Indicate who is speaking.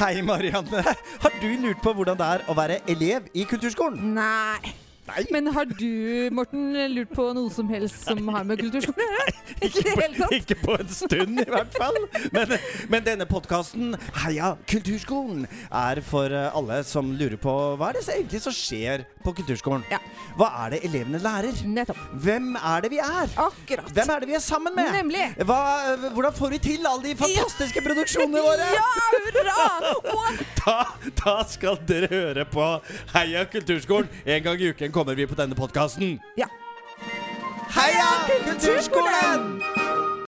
Speaker 1: Hei, Marianne. Har du lurt på hvordan det er å være elev i kulturskolen?
Speaker 2: Nei.
Speaker 1: Nei.
Speaker 2: Men har du, Morten, lurt på noe som helst som har med kulturskolen å gjøre? Ikke i det hele tatt?
Speaker 1: Ikke på en stund, i hvert fall. Men, men denne podkasten, Heia kulturskolen, er for eh, alle som lurer på hva er det som egentlig som skjer på kulturskolen.
Speaker 2: Ja.
Speaker 1: Hva er det elevene lærer?
Speaker 2: Nettopp.
Speaker 1: Hvem er det vi er?
Speaker 2: Akkurat.
Speaker 1: Hvem er det vi er sammen med?
Speaker 2: Nemlig.
Speaker 1: Hva, hvordan får vi til alle de fantastiske produksjonene våre?
Speaker 2: Ja, hurra! Og
Speaker 1: Da, da skal dere høre på Heia kulturskolen. En gang i uken kommer vi på denne podkasten.
Speaker 2: Ja.
Speaker 1: 그 Heia kulturskolen!